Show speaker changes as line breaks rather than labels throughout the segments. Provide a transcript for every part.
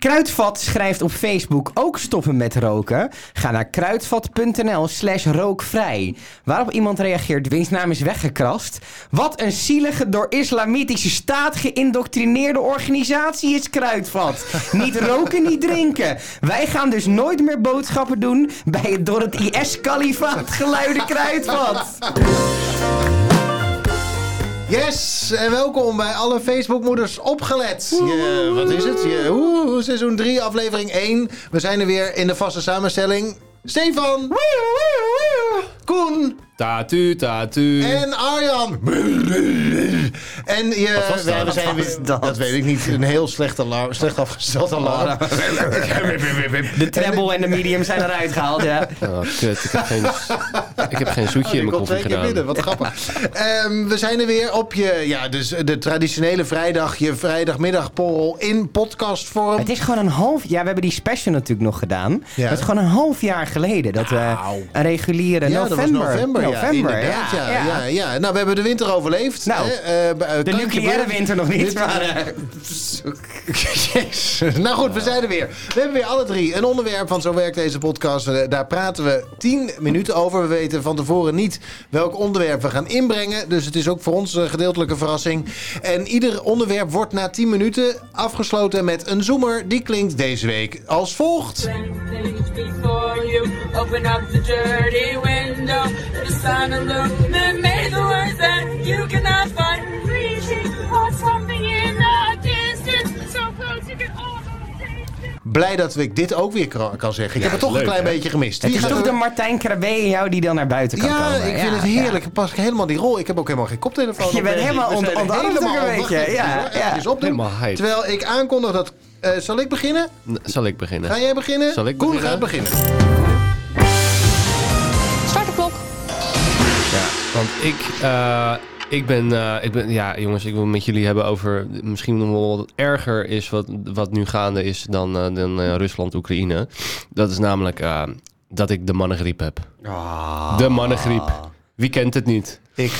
Kruidvat schrijft op Facebook ook stoppen met roken. Ga naar kruidvat.nl slash rookvrij. Waarop iemand reageert, wiens naam is weggekrast. Wat een zielige, door islamitische staat geïndoctrineerde organisatie is Kruidvat. niet roken, niet drinken. Wij gaan dus nooit meer boodschappen doen bij het door het IS-kalifaat geluide Kruidvat.
Yes, en welkom bij alle Facebookmoeders opgelet. Je, wat is het? Je, oeh, oeh, seizoen 3, aflevering 1. We zijn er weer in de vaste samenstelling. Stefan, Koen
Tatu, tatu.
en Arjan. En je,
was
we,
dat?
we
Wat
zijn weer,
was
dat?
dat?
weet ik niet, een heel slecht, alarm, slecht afgesteld alarm.
De treble en de medium zijn eruit gehaald, ja.
Oh, kut. Ik heb geen, ik heb geen zoetje
Oh,
in
die
mijn
komt
koffie
twee keer
gedaan.
binnen, wat grappig. Ehm, we zijn er weer op je, ja, dus de traditionele vrijdag, je vrijdagmiddagporrel in podcastvorm.
Het is gewoon een half jaar. We hebben die special natuurlijk nog gedaan.
Ja. Nou.
Dat is gewoon een half jaar geleden. Dat we een reguliere
Ja,
november.
dat was
november,
november. ja, inderdaad, ja, ja.
ja.
Ja, Nou, we hebben de winter overleefd.
Nou,
hè, eh, b- eh,
De
kan
nucleaire
gebeuren.
winter nog niet.
Dit-
Maar, eh,
Jezus. Nou goed, we zijn er weer. We hebben weer alle drie een onderwerp van Zo werkt deze podcast. Eh, Daar praten we tien minuten over. We weten van tevoren niet welk onderwerp we gaan inbrengen. Dus het is ook voor ons een gedeeltelijke verrassing. En ieder onderwerp wordt na tien minuten afgesloten met een zoemer. Die klinkt deze week als volgt.
things before you. Open up the dirty window. The sun illuminates the words that you cannot find.
reaching for something in the distance, so close you can almost taste it.
Blij dat ik dit ook weer kra- kan zeggen. Ik heb het toch
leuk,
een klein
hè?
beetje gemist.
het
Wie
is
gaat
toch
er-
de Martijn Krabbe in jou die dan naar buiten kan
Ja,
komen.
ik vind het heerlijk. Ik Pas ik helemaal die rol. Ik heb ook helemaal geen koptelefoon.
Je
op,
bent
denk ik.
helemaal
We
on-
zijn er
ontarmd
helemaal
ook een
ontarmd.
beetje.
Even,
Ja,
hoor. Even
ja.
eens opdoen.
Helemaal hyped.
Terwijl ik aankondig dat... eh, zal ik beginnen?
N- Zal ik beginnen?
Ga jij beginnen?
Zal ik
Koen
beginnen?
gaat beginnen.
Want ik, eh, ik, ben, eh, ik ben... Ja, jongens, ik wil het met jullie hebben over... Misschien nog wel wat erger is wat, wat nu gaande is dan, eh, dan eh, Rusland-Oekraïne. Dat is namelijk eh, dat ik de mannengriep heb.
Ah.
De mannengriep. Wie kent het niet?
Ik...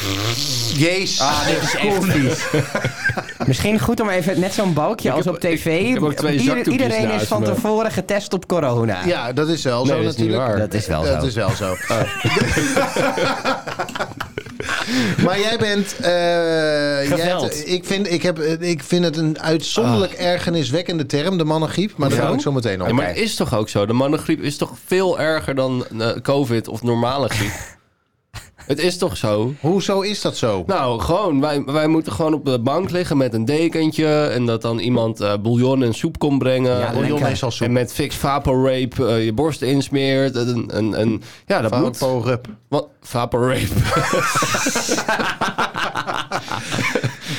Jezus.
Ah, dit is echt vies. Misschien goed om even net zo'n balkje als
heb-
op tv.
ik- ik heb ook twee
Ieder-
zakdoekjes
iedereen is
naast
van
me.
tevoren getest op corona.
ja, dat is wel zo
Nee, dat is Oh. niet
natuurlijk.
waar.
Dat is wel
dat
zo.
is wel zo. maar jij bent... eh, jij
Geveld.
hebt- ik, vind, ik, heb, eh, ik vind het een uitzonderlijk ergerniswekkende term, de mannengriep. Maar daar
Hoezo?
kom ik zo meteen op.
Ah. Ja, maar het is toch ook zo? De mannengriep is toch veel erger dan eh, COVID of normale griep? het is toch zo?
Hoezo is dat zo?
Nou, gewoon. Wij, wij moeten gewoon op de bank liggen met een dekentje. En dat dan iemand eh, bouillon en soep komt brengen.
Ja,
En-
lekker.
Bouillon is al soep.
En met Fix Vaporrape eh, je borst insmeert. En, en, en, ja, dat moet.
Vaporub.
Wat? Vaporrape.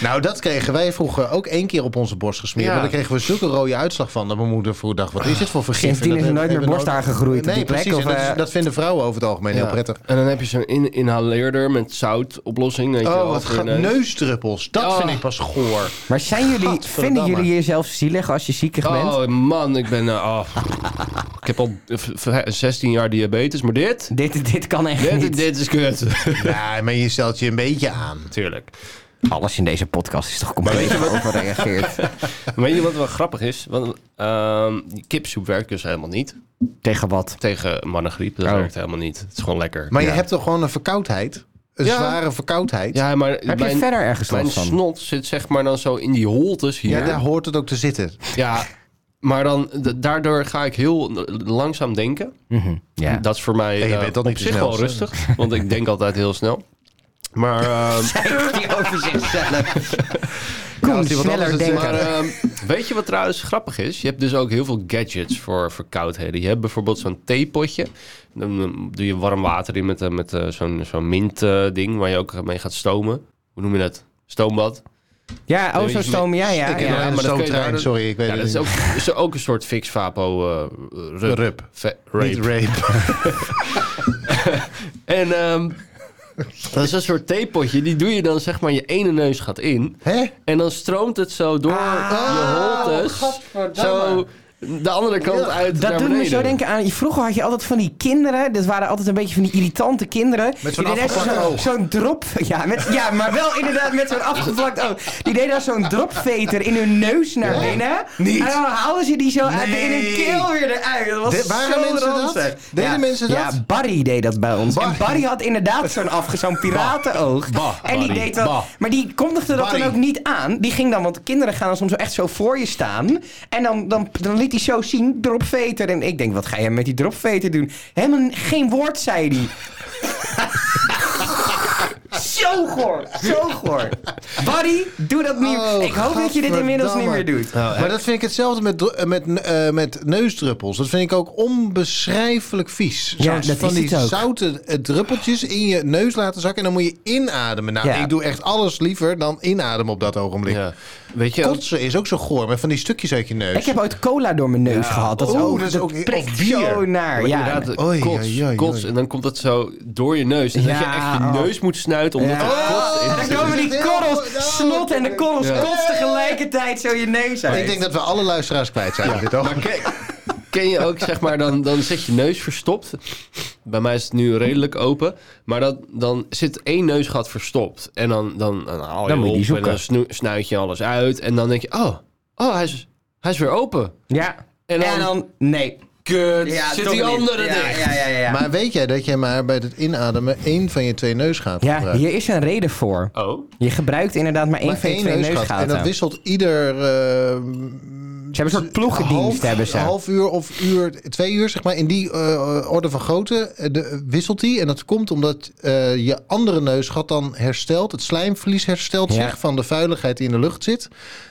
Nou, dat kregen wij vroeger ook één keer op onze borst gesmeerd.
Ja. Ah.
Maar daar kregen we zulke rode uitslag van dat mijn moeder vroeg dacht, wat is dit voor vergif?
Sindsdien
En dat
is er nooit
hebben
meer
we
borsthaar gegroeid op
Nee,
die plek,
precies.
of,
en dat, is-
eh,
dat vinden vrouwen over het algemeen heel
Ja.
prettig.
En dan heb je zo'n in inhaleerder met zoutoplossing. weet je
Oh,
wel, eh,
wat
voor je
ga-
neus.
neusdruppels. Dat
Oh.
vind ik pas goor.
Maar zijn jullie,
Gadverdamme.
vinden jullie jezelf zielig als je ziekig bent?
Oh man, ik ben... eh, oh, ik heb al v- v- 16 jaar diabetes, maar dit?
Dit, dit kan echt
Dit,
niet.
dit is kut.
Ja, maar je stelt je een beetje aan.
Tuurlijk.
Alles in deze podcast is toch compleet overreageerd.
Maar Weet je wat wel grappig is? Want, ehm, die kipsoep werkt dus helemaal niet.
Tegen wat?
Tegen mannengriep, dat
Oh.
werkt helemaal niet. Het is gewoon lekker.
Maar
Ja.
je hebt toch gewoon een verkoudheid? Een
Ja.
zware verkoudheid?
Ja, maar
Heb je verder ergens
mijn
last van?
snot zit zeg maar dan zo in die holtes hier.
Ja, daar hoort het ook te zitten.
Ja, maar dan, da- daardoor ga ik heel l- langzaam denken.
Hm, Ja.
Dat is voor mij
En je
eh,
bent dan
op
niet de
zich wel
snelste.
rustig. Want ik denk altijd heel snel. Maar, ehm,
die over zichzelf. Kom,
als iemand anders
sneller
het
denken.
maar ehm, weet je wat trouwens grappig is? Je hebt dus ook heel veel gadgets voor verkoudheden. Je hebt bijvoorbeeld zo'n theepotje. Dan eh, doe je warm water in met, eh, met eh, zo'n zo'n mint eh, ding waar je ook mee gaat stomen. Hoe noem je dat? Stoombad.
ja, oh,
Weet je,
zo stoom. Ja, ja,
Ik heb
ja,
wel
ja.
maar
een
dat kun je
stoomtrein,
daar-
sorry. Ik weet
Ja, dat
het
is
niet.
ook, is ook een soort fix vapo eh, rup.
Rup.
Ve- rape.
Niet rape.
En ehm, dat is een soort theepotje. Die doe je dan zeg maar je ene neus gaat in.
Hè?
Ah,
En dan stroomt het zo door je holtes. Zo, de andere kant uit
oh, Dat
naar
doet me
beneden.
zo denken aan. Vroeger had je altijd van die kinderen. Dit waren altijd een beetje van die irritante kinderen.
Met zo'n
Die deden
afgeplakt
zo-
oog.
Zo'n drop. Ja, met, ja, maar wel inderdaad met zo'n afgeplakt oog. Die deden dan zo'n dropveter in hun neus naar
Ja?
binnen.
Niet.
En dan haalden ze die zo uit,
Nee.
in hun keel weer eruit. Dat was
De- waren
zo
mensen dat?
ranzig.
Deden
ja.
mensen dat?
Ja, Barry deed dat bij ons.
Barry.
En Barry had inderdaad zo'n afge- zo'n piratenoog.
Bah,
en die
Barry,
deed dat.
bah.
Maar die kondigde dat
Barry.
dan ook niet aan. Die ging dan, want de kinderen gaan dan soms echt zo voor je staan. En dan, dan, dan liet hij zo zien, dropveter. En ik denk, wat ga jij met die dropveter doen? Helemaal geen woord, zei hij. zo goor, zo goor. Barry, doe dat niet.
Oh,
ik hoop dat je dit inmiddels niet meer doet.
Nou,
Maar dat vind ik hetzelfde met, dru- eh, met, eh, met neusdruppels. Dat vind ik ook onbeschrijfelijk vies.
Ja,
Zo'n-
dat
van
is
die
het ook.
zoute eh, druppeltjes in je neus laten zakken. En dan moet je inademen. Nou,
Ja.
ik doe echt alles liever dan inademen op dat ogenblik.
ja. Weet je,
Kotsen is ook zo goor, met van die stukjes uit je neus.
Ik heb ooit cola door mijn neus gehad. Dat, is
oeh,
ook,
dat is ook- of
prikt
bier.
zo naar.
maar
Ja,
inderdaad,
Oei,
kots,
oei, oei,
kots.
oei.
En dan komt dat zo door je neus. En dat je
Ja,
echt je
oh.
neus moet snuiten omdat
Ja.
er kots in
En
zit.
dan komen die korrels, snot en de korrels
Ja.
kots tegelijkertijd zo je neus uit.
Ik denk dat we alle luisteraars kwijt zijn. op Dit
Maar
ogenblik.
ken, ken je ook, zeg maar, dan, dan zit je neus verstopt. Bij mij is het nu redelijk open. Maar dat, dan zit één neusgat verstopt. En dan, dan, dan haal je
Dan moet je die
op en
zoeken.
dan snoe- snuit je alles uit. En dan denk je, oh, oh hij, is, hij is weer open.
Ja.
En
En
dan-
dan, nee.
Kut,
Ja,
zit
toch
die
niet.
andere
ja,
dicht.
Ja, ja, ja. ja.
Maar weet jij dat je maar bij het inademen één van je twee neusgaten
Ja,
gebruikt?
hier is een reden voor.
Oh,
Je gebruikt inderdaad maar één
Maar
van je twee neusgaten.
En dat wisselt ieder... eh,
Ze hebben een soort ploegendienst,
half,
hebben ze.
half uur of uur, twee uur zeg maar, in die eh, orde van grootte eh, de- wisselt die. En dat komt omdat eh, je andere neusgat dan herstelt. Het slijmverlies herstelt
Ja.
zich van de vuiligheid die in de lucht zit.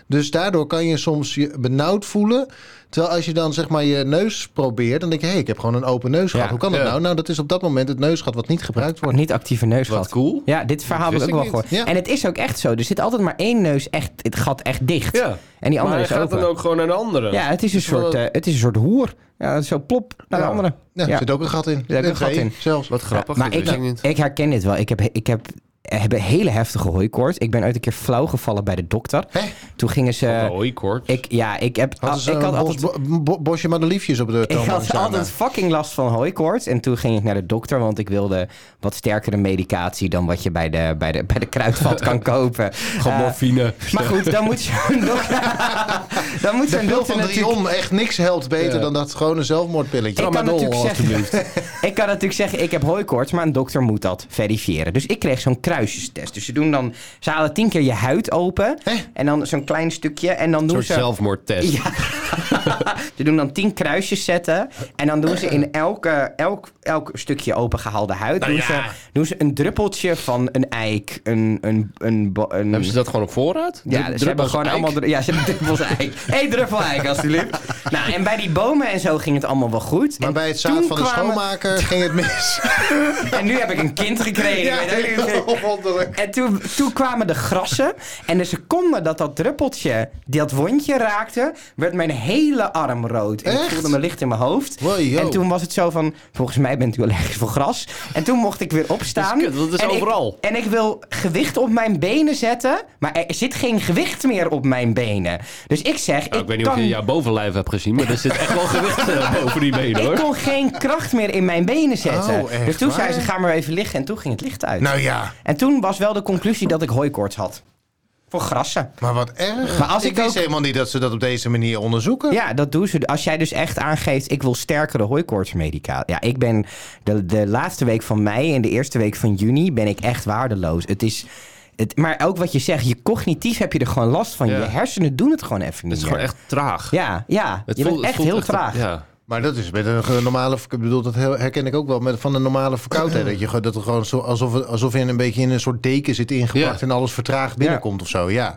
Dus daardoor kan je soms je benauwd voelen. Terwijl als je dan zeg maar je neus probeert, dan denk je... hé, hey, ik heb gewoon een open neusgat.
Ja.
Hoe kan dat
Ja.
nou? Nou, dat is op dat moment het neusgat wat niet gebruikt wordt.
Niet actieve neusgat.
Wat cool.
Ja, dit verhaal heb
Dat
ik ook wel
wist ik
gehoord.
niet. Ja.
En het is ook echt zo. Er zit altijd maar één neus echt, het gat echt dicht.
ja.
En die andere
maar hij
is
gaat
open.
dan ook gewoon naar de andere.
Ja, het is een soort,
wel-
eh, het is een soort hoer. Ja, zo plop naar
Ja.
de andere.
Ja,
Ja.
Nou, Er zit ook een gat in.
zit ook
En
een gat
twee
in.
Zelfs.
Wat grappig,
maar
dit
ik,
wist ik niet.
ik herken dit wel. Ik heb, ik heb, heb een hele heftige hooikoorts. Ik ben ooit een keer flauw gevallen bij de dokter.
Hè?
Toen gingen ze...
Oei, Oh, kort.
Ik, ja, ik heb...
Hadden
Ah, ik
ze een bos, bo- bo- bosje madeliefjes op de
Ik had
toonbank
altijd fucking last van hooikoorts. En toen ging ik naar de dokter, want ik wilde wat sterkere medicatie dan wat je bij de, bij de, bij de kruidvat kan kopen.
Gewoon
Eh,
morfine.
maar goed, dan moet zo'n dokter... dan moet
De
zo'n
pil
dokter
van
natuurlijk...
Drion echt niks helpt beter
Ja.
dan dat gewone zelfmoordpilletje.
Ik kan,
Tramadol,
natuurlijk
alstublieft.
zeggen, ik kan natuurlijk zeggen, ik heb hooikoorts, maar een dokter moet dat verifiëren. Dus ik kreeg zo'n kruisjestest. Dus ze doen dan, ze halen tien keer je huid open
Hè?
en dan zo'n klein stukje en dan
Een
doen
soort
ze...
zelfmoordtest.
Ja. ze doen dan tien kruisjes zetten. En dan doen ze in elke, elk, elk stukje opengehaalde huid...
Nou
doen,
ja.
ze, doen ze een druppeltje van een eik. Een, een, een, bo- een,
Hebben ze dat gewoon op voorraad? Dru-
ja, ze hebben
druppels Ah,
gewoon
eik?
allemaal... dru- Ja, ze hebben druppels eik. Eén druppel eik, alsjeblieft. nou, en bij die bomen en zo ging het allemaal wel goed.
Maar
en
bij het zaad
toen
van de
kwamen-
schoonmaker ging het mis.
En nu heb ik een kind gekregen. weet ook niet hoe-
wonderlijk.
En toen, toen kwamen de grassen. En de seconde dat dat druppeltje dat wondje raakte, werd mijn hele arm rood. En
Echt?
ik voelde me licht in mijn hoofd.
Wow, yo.
en toen was het zo van, volgens mij bent u allergisch voor gras. En toen mocht ik weer opstaan.
Dat is kut, want dat is
en
overal.
Ik, en ik wil gewicht op mijn benen zetten, maar er zit geen gewicht meer op mijn benen. Dus ik zeg,
Nou,
ik,
ik weet niet
kan
of je jouw bovenlijf hebt gezien, maar er zit echt wel gewicht eh, boven die benen
ik
hoor.
kon geen kracht meer in mijn benen zetten.
Oh, echt
dus toen
waar?
zei ze, ga maar even liggen. En toen ging het licht uit.
Nou ja,
En toen was wel de conclusie dat ik hooikoorts had. Voor grassen.
maar wat erg.
Maar als
ik
ik
wist
ook-
helemaal niet dat ze dat op deze manier onderzoeken.
Ja, dat doen ze. Als jij dus echt aangeeft, ik wil sterkere hooikoortsmedicatie. Ja, ik ben de, de laatste week van mei en de eerste week van juni ben ik echt waardeloos. Het is... Het, maar ook wat je zegt, je cognitief heb je er gewoon last van.
Ja.
Je hersenen doen het gewoon even
Het
niet
is
meer.
gewoon echt traag.
Ja, ja.
Het
je
voelt-
bent
het
echt
voelt
heel traag.
Ja.
Maar dat is met een ge- normale... verk- Ik bedoel, dat heel- herken ik ook wel met, van een normale verkoudheid. Dat, je, ge- dat er gewoon zo, alsof, alsof je een beetje in een soort deken zit ingepakt...
Ja.
en alles vertraagd binnenkomt of zo, ja.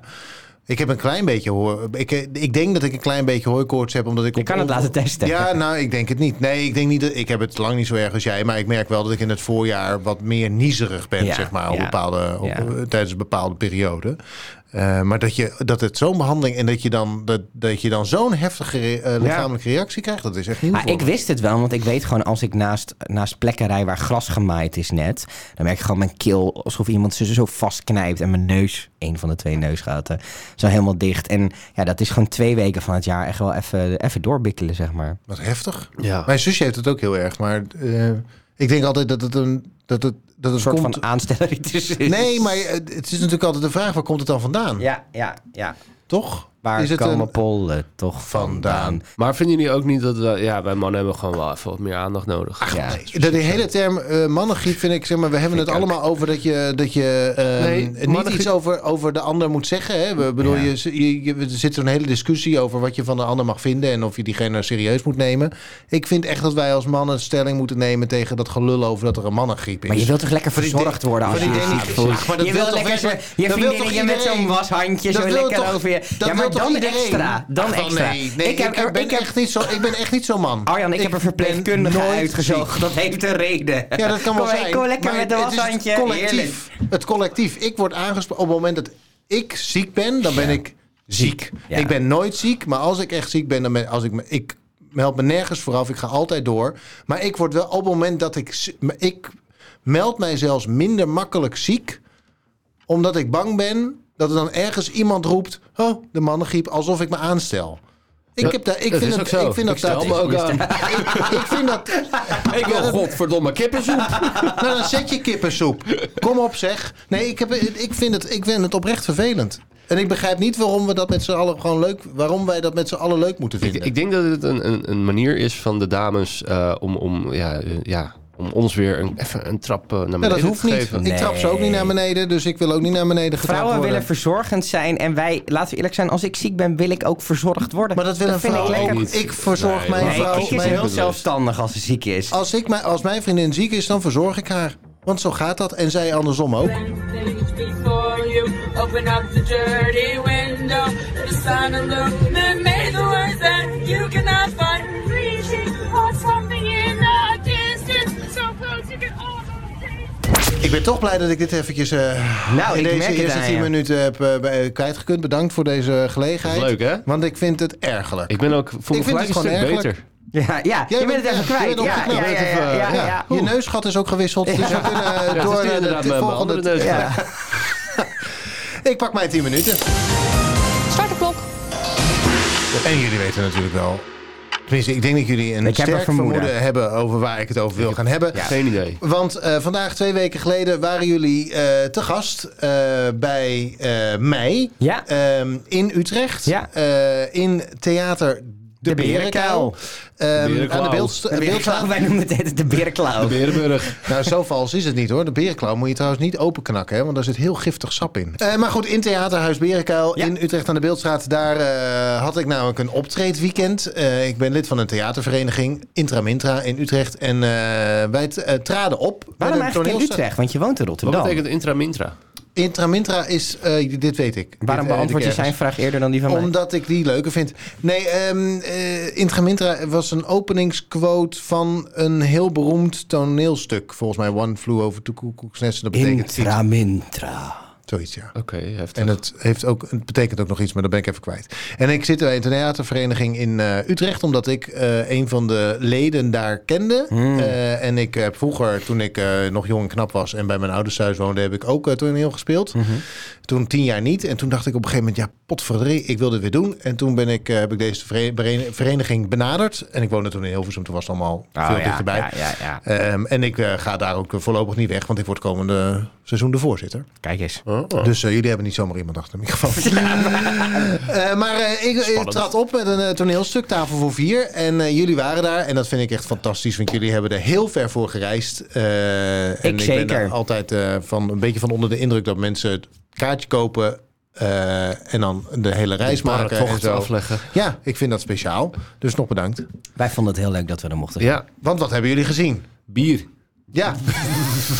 Ik heb een klein beetje hoor. Ik, eh, ik denk dat ik een klein beetje hooikoorts heb. Omdat ik
Je
op-
kan het
op-
laten testen.
Ja, nou, ik denk het niet. Nee, ik denk niet dat ik heb het lang niet zo erg als jij, maar ik merk wel dat ik in het voorjaar wat meer niezerig ben,
Ja,
zeg maar, op
ja,
bepaalde, op,
ja.
eh, tijdens een bepaalde periode. Eh, maar dat, je, dat het zo'n behandeling en dat je dan, dat, dat je dan zo'n heftige re- eh, lichamelijke reactie krijgt, dat is echt nieuw.
Ah,
voor
ik
me.
wist het wel, want ik weet gewoon als ik naast, naast plekken rij waar gras gemaaid is net, dan merk ik gewoon mijn keel alsof iemand ze zo vastknijpt en mijn neus, een van de twee neusgaten, zo helemaal dicht. En ja, dat is gewoon twee weken van het jaar echt wel even, even doorbikkelen, zeg maar.
Wat heftig.
Ja.
Mijn zusje heeft het ook heel erg, maar eh, ik denk altijd dat het een. Dat het, dat het
Een soort
komt...
van aanstelleritis. is.
Nee, maar eh, het is natuurlijk altijd de vraag: waar komt het dan vandaan?
Ja, ja, ja.
Toch?
Waar
is het
komen
een-
pollen toch vandaan?
vandaan?
Maar vinden jullie ook niet dat we, ja, wij mannen hebben gewoon wel even wat meer aandacht nodig?
Ja.
De, de hele term eh mannengriep vind ik, zeg maar, we hebben het allemaal over dat je, dat je eh,
Nee,
niet
mannengriep-
iets over, over de ander moet zeggen. Hè? We, bedoel,
Ja.
je, je, je- er zit een hele discussie over wat je van de ander mag vinden en of je diegene serieus moet nemen. Ik vind echt dat wij als mannen stelling moeten nemen tegen dat gelul over dat er een mannengriep is.
Maar je wilt toch lekker
Van die
verzorgd
ding-
worden als je
van die
je
ding-
ziek voelt?
Ach, maar dat
je
wil
wil
toch
lekker
iedereen-
zo- je
dat wil toch
vriendinnetje met zo'n
iedereen?
washandje
Dat
zo
wil
lekker
toch-
over je.
dat
Ja, maar
wil toch
dan
iedereen?
extra. Dan
Ach, wel,
extra.
Nee, nee, ik,
heb er-
ben
ik heb-
echt niet zo, ik ben echt niet zo'n man.
Arjan, ik, heb een verpleegkundige
ben nooit
uitgezocht.
ziek.
Dat heeft een reden.
Ja, dat kan wel
Kom,
zijn.
Kom lekker
maar
met een
het is
washandje.
Het
Heerlijk.
collectief. Het collectief. Ik word aangesproken. Op het moment dat ik ziek ben, dan ben ik ziek.
Ja.
Ik ben nooit ziek, maar als ik echt ziek ben, dan ben als ik me. Ik meld me nergens vooraf. Ik ga altijd door. Maar ik word wel op het moment dat ik. z- me- Ik meld mij zelfs minder makkelijk ziek, omdat ik bang ben dat er dan ergens iemand roept: Oh, de mannengriep, alsof ik me aanstel. Ik, heb daar, ik,
dat
vind
is
dat,
ook zo.
ik vind dat
Ik stel
dat-
me ook aan.
ik vind dat
Ik wil godverdomme kippensoep.
nou, dan zet je kippensoep. Kom op, zeg. Nee, ik, heb, ik, vind het, ik vind het oprecht vervelend. En ik begrijp niet waarom we dat met z'n allen gewoon leuk. Waarom wij dat met z'n allen leuk moeten
ik,
vinden.
ik denk dat het een, een, een manier is van de dames eh, om, om, ja, eh, ja, om ons weer een, even een trap eh, naar
Ja,
beneden
Nou, dat hoeft
te
niet.
geven.
Ik trap ze ook niet naar beneden, dus ik wil ook niet naar beneden getrapt
Vrouwen
worden.
willen verzorgend zijn en wij, laten we eerlijk zijn, als ik ziek ben, wil ik ook verzorgd worden.
maar dat wil een
vind
vrouw
ik lekker.
ook
niet.
niet. Ik verzorg
Nee,
mijn
dat-
Nee,
vrouw.
ik is
mijn-
heel zelfstandig als ze ziek is.
als, ik mijn, als mijn vriendin ziek is, dan verzorg ik haar. Want zo gaat dat. En zij andersom ook.
Things before you open up the dirty window to the sun and illuminate the words that you cannot find.
Reaching for something in the distance, so close you can almost taste it.
Ik ben toch blij dat ik dit eventjes eh,
Nou, ik
in deze
merk het
eerste
aan
10
je.
minuten heb eh, bij- kwijtgekund. Bedankt voor deze gelegenheid.
Leuk, hè?
Want ik vind het ergerlijk.
Ik ben ook voel me
Ik vind het
gelijk een
gewoon
stuk
ergelijk.
beter.
Ja, ja. je bent het even
ja,
kwijt.
je bent
Ja, ja,
opgeknapt.
ja, ja, ja,
Ja,
ja.
Je neusgat is ook gewisseld. Dus we kunnen eh, door
Ja, dat is
naar de,
inderdaad mijn-
de
mijn
volgende.
andere neus.
Ja.
Ik pak mij 10 minuten.
Start de klok.
En jullie weten natuurlijk wel. Tenminste, ik denk dat jullie een
Ik heb een
sterk vermoeden.
vermoeden
hebben over waar ik het over wil gaan hebben.
Ja.
Geen idee.
Want eh, vandaag, twee weken geleden, waren jullie eh, te gast eh, bij eh, mij
Ja.
ehm, in Utrecht.
Ja.
eh, in theater De,
De
Berenkuil.
Berenkuil.
Ehm,
Berenkuil.
aan de Beeldst-
De berenklauw.
Beeldstraat.
Wij noemen het altijd de berenklauw.
Berenburg.
Nou, zo vals is het niet hoor. De berenklauw moet je trouwens niet openknakken, hè, want daar zit heel giftig sap in. Eh, maar goed, in Theaterhuis Berenkuil
Ja.
in Utrecht aan de Beeldstraat, daar eh, had ik namelijk een optreedweekend. Eh, ik ben lid van een theatervereniging, Intramintra in Utrecht. En eh, wij t- eh, traden op. met
Waarom
een
eigenlijk in
toneelsta-
Utrecht? Want je woont in
Wat
Rotterdam.
betekent intramintra?
Intramintra is, eh, dit weet ik.
Waarom
Dit, eh,
beantwoord je
weet ik
zijn
ergens.
vraag eerder dan die van mij?
Omdat ik die leuker vind. Nee, ehm, eh, Intramintra was een openingsquote van een heel beroemd toneelstuk. Volgens mij One Flew Over Two Cuckoo's Nest. Dat betekent iets-
Intramintra.
zoiets, ja.
Oké, heftig.
En het, heeft ook, het betekent ook nog iets, maar dat ben ik even kwijt. En ik zit bij een theatervereniging in eh, Utrecht, omdat ik eh, een van de leden daar kende.
Hmm.
Eh, en ik heb vroeger, toen ik eh, nog jong en knap was en bij mijn ouders thuis woonde, heb ik ook eh, toneel gespeeld.
Mhm.
Toen tien jaar niet. En toen dacht ik op een gegeven moment, ja, potverdrie, ik wil dit weer doen. En toen ben ik, eh, heb ik deze vere- vere- vereniging benaderd. En ik woonde toen in Hilversum, toen was het allemaal veel
Oh, ja,
dichterbij.
ja, ja, ja.
Ehm, en ik eh, ga daar ook eh, voorlopig niet weg, want ik word komende seizoen de voorzitter.
Kijk eens.
Dus eh, jullie hebben niet zomaar iemand achter de microfoon. Eh, maar eh, ik, ik trad op met een eh, toneelstuk, Tafel voor Vier. En eh, jullie waren daar. En dat vind ik echt fantastisch. Want jullie hebben er heel ver voor gereisd. Eh, en ik ben
zeker.
daar altijd eh, van, een beetje van onder de indruk dat mensen het kaartje kopen. eh, en dan de hele reis maken. en
tocht
zo.
afleggen.
Ja, ik vind dat speciaal. Dus nog bedankt.
Wij vonden het heel leuk dat we er mochten zijn.
Ja,
Want wat hebben jullie gezien?
bier.
Ja.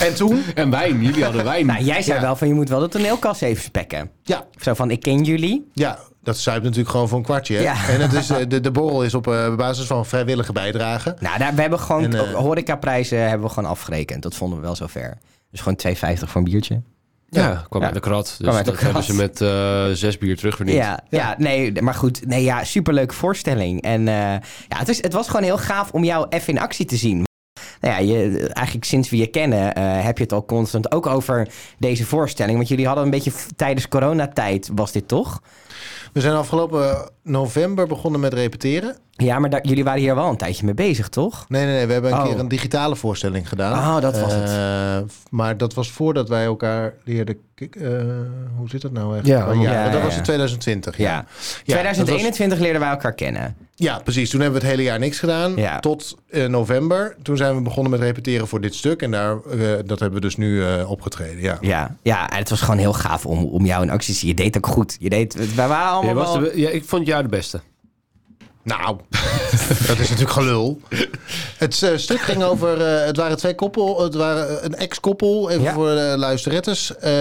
en toen?
En wijn. Jullie hadden wijn.
Nou, jij zei
Ja.
wel van je moet wel de toneelkast even spekken.
Ja,
Zo van ik ken jullie.
Ja, dat zuipt natuurlijk gewoon voor een kwartje. hè?
Ja.
En het is, eh, de, de borrel is op eh, basis van vrijwillige bijdrage.
Nou, daar, we hebben gewoon
En, eh,
horecaprijzen hebben we gewoon afgerekend. Dat vonden we wel zover. Dus gewoon 2,50 voor een biertje.
Ja, kwam
Ja.
uit de krat. Dus
Kwam uit de
dat hebben
krat.
ze met eh, zes bier terugverdiend.
Ja, ja, nee, maar goed. Nee, ja, superleuke voorstelling. En eh, ja, het, is, het was gewoon heel gaaf om jou even in actie te zien. Nou ja, je, eigenlijk sinds we je kennen eh, heb je het al constant ook over deze voorstelling. Want jullie hadden een beetje v- tijdens coronatijd was dit toch?
We zijn afgelopen eh, november begonnen met repeteren.
Ja, maar daar- jullie waren hier wel een tijdje mee bezig, toch?
Nee, nee, nee. We hebben een
Oh.
keer een digitale voorstelling gedaan.
Oh, dat was
het. Maar dat was voordat wij elkaar leerden... kik- eh, hoe zit dat nou echt?
Ja,
ja,
ja,
dat
ja,
was
ja.
in 2020. Ja.
Ja.
dat was-
2021 leerden wij elkaar kennen.
ja, precies. Toen hebben we het hele jaar niks gedaan.
Ja.
Tot eh, november. Toen zijn we begonnen met repeteren voor dit stuk. En daar, eh, dat hebben we dus nu eh, opgetreden. Ja.
Ja, ja en het was gewoon heel gaaf om, om jou in actie te zien. Je deed ook goed. Je deed, wij waren allemaal
Jij was
wel-
de be- ja, ik vond jou de beste.
Nou, dat is natuurlijk gelul. Het eh, stuk ging over, eh, het waren twee koppel, het waren eh, een ex-koppel, even
Ja.
voor de luisterettes. Eh,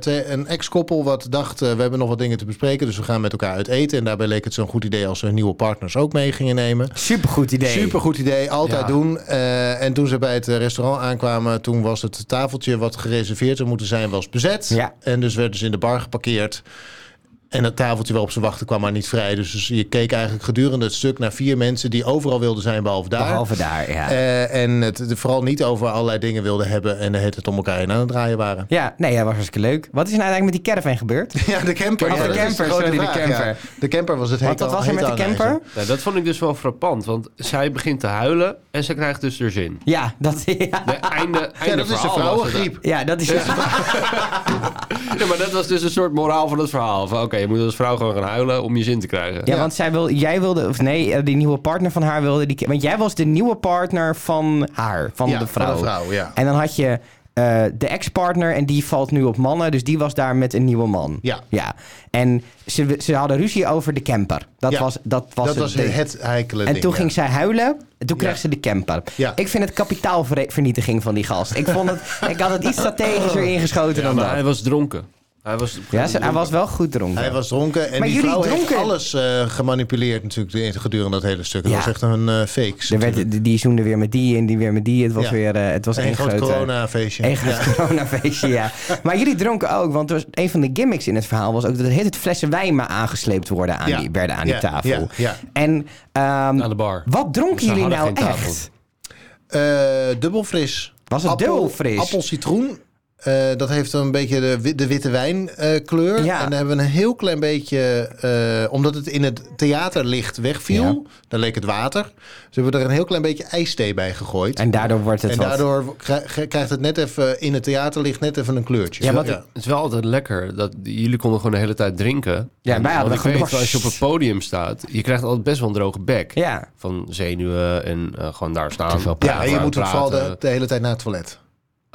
twee- een ex-koppel wat dacht, eh, we hebben nog wat dingen te bespreken, dus we gaan met elkaar uit eten. En daarbij leek het zo'n goed idee als ze hun nieuwe partners ook mee gingen nemen.
Supergoed idee.
Supergoed idee, altijd
Ja.
doen. Eh, en toen ze bij het eh, restaurant aankwamen, toen was het tafeltje wat gereserveerd zou moeten zijn, was bezet.
Ja.
En dus werden ze in de bar geparkeerd. En dat tafeltje waarop ze wachten kwam maar niet vrij. Dus, dus je keek eigenlijk gedurende het stuk naar vier mensen die overal wilden zijn, behalve daar.
Behalve daar, ja.
Eh, en het de- vooral niet over allerlei dingen wilden hebben en de hele tijd om elkaar heen aan het draaien waren.
Ja, nee, dat was hartstikke leuk. Wat is er nou eigenlijk met die caravan gebeurd?
Ja, de camper.
Oh, de
dat is
camper,
grote
sorry, de
vraag,
camper.
ja. De camper was het hele
Want wat was er met de camper?
Nou, dat vond ik dus wel frappant. Want zij begint te huilen en ze krijgt dus er zin.
Ja, dat, ja,
De einde, einde
Ja, dat is de
verhaal was het.
vrouwengriep.
ja, dat is
Ja, maar dat was dus een soort moraal van het verhaal. Van oké, je moet als vrouw gewoon gaan huilen om je zin te krijgen.
Ja, want zij wil, jij wilde, of nee, eh, die nieuwe partner van haar wilde die. Want jij was de nieuwe partner van haar, van
Ja,
de vrouw.
van de vrouw, ja.
En dan had je eh, de ex-partner en die valt nu op mannen, dus die was daar met een nieuwe man.
Ja.
ja. En ze, ze hadden ruzie over de camper. Dat
Ja.
was, dat was
Dat was
ding.
het heikele
En
ding,
toen
ja.
ging zij huilen. En toen
Ja.
kreeg ze de camper.
Ja.
Ik vind het kapitaalvernietiging van die gast. Ik, vond het, ik had het iets
Oh.
strategischer ingeschoten dan
Maar hij
dat.
was dronken. Hij was,
Ja, ze- hij was wel goed dronken.
Hij was dronken en
Maar
die
jullie
vrouw heeft
dronken?
alles eh, gemanipuleerd natuurlijk de- gedurende dat hele stuk. Het
Ja.
was echt een eh fakes.
Er werd, die- die zoende weer met die en die weer met die. Het was
Ja.
weer eh, het was
een
één
groot
grote-
coronafeestje.
Een groot coronafeestje, ja. Maar jullie dronken ook, want er was, een van de gimmicks in het verhaal was ook dat het hele tijd flessen wijn maar aangesleept worden aan
Ja.
die, werden aan die
Ja,
tafel.
ja, ja.
En ehm,
Aan de bar.
wat dronken
Ze
jullie
hadden
nou
geen tafel.
echt?
Eh, dubbel fris.
Was het dubbel fris?
Appel citroen. Eh, dat heeft een beetje de, wi- de witte wijnkleur.
Ja.
En dan hebben we een heel klein beetje... eh, omdat het in het theaterlicht wegviel, dan leek het water. Dus hebben we er een heel klein beetje ijsthee bij gegooid. En,
En daardoor wordt het wat-
daardoor krij- ge- krijgt het net even in het theaterlicht net even een kleurtje.
Ja, want-
Het is wel altijd lekker dat jullie konden gewoon de hele tijd drinken.
Ja, wij hadden
Want ik
gewoon
weet
dorst.
wel, als je op een podium staat, je krijgt altijd best wel een droge bek.
Ja.
Van zenuwen en eh, gewoon daar staan.
Ja, en je
aan
moet ook vooral de,
praten.
de hele tijd naar het toilet.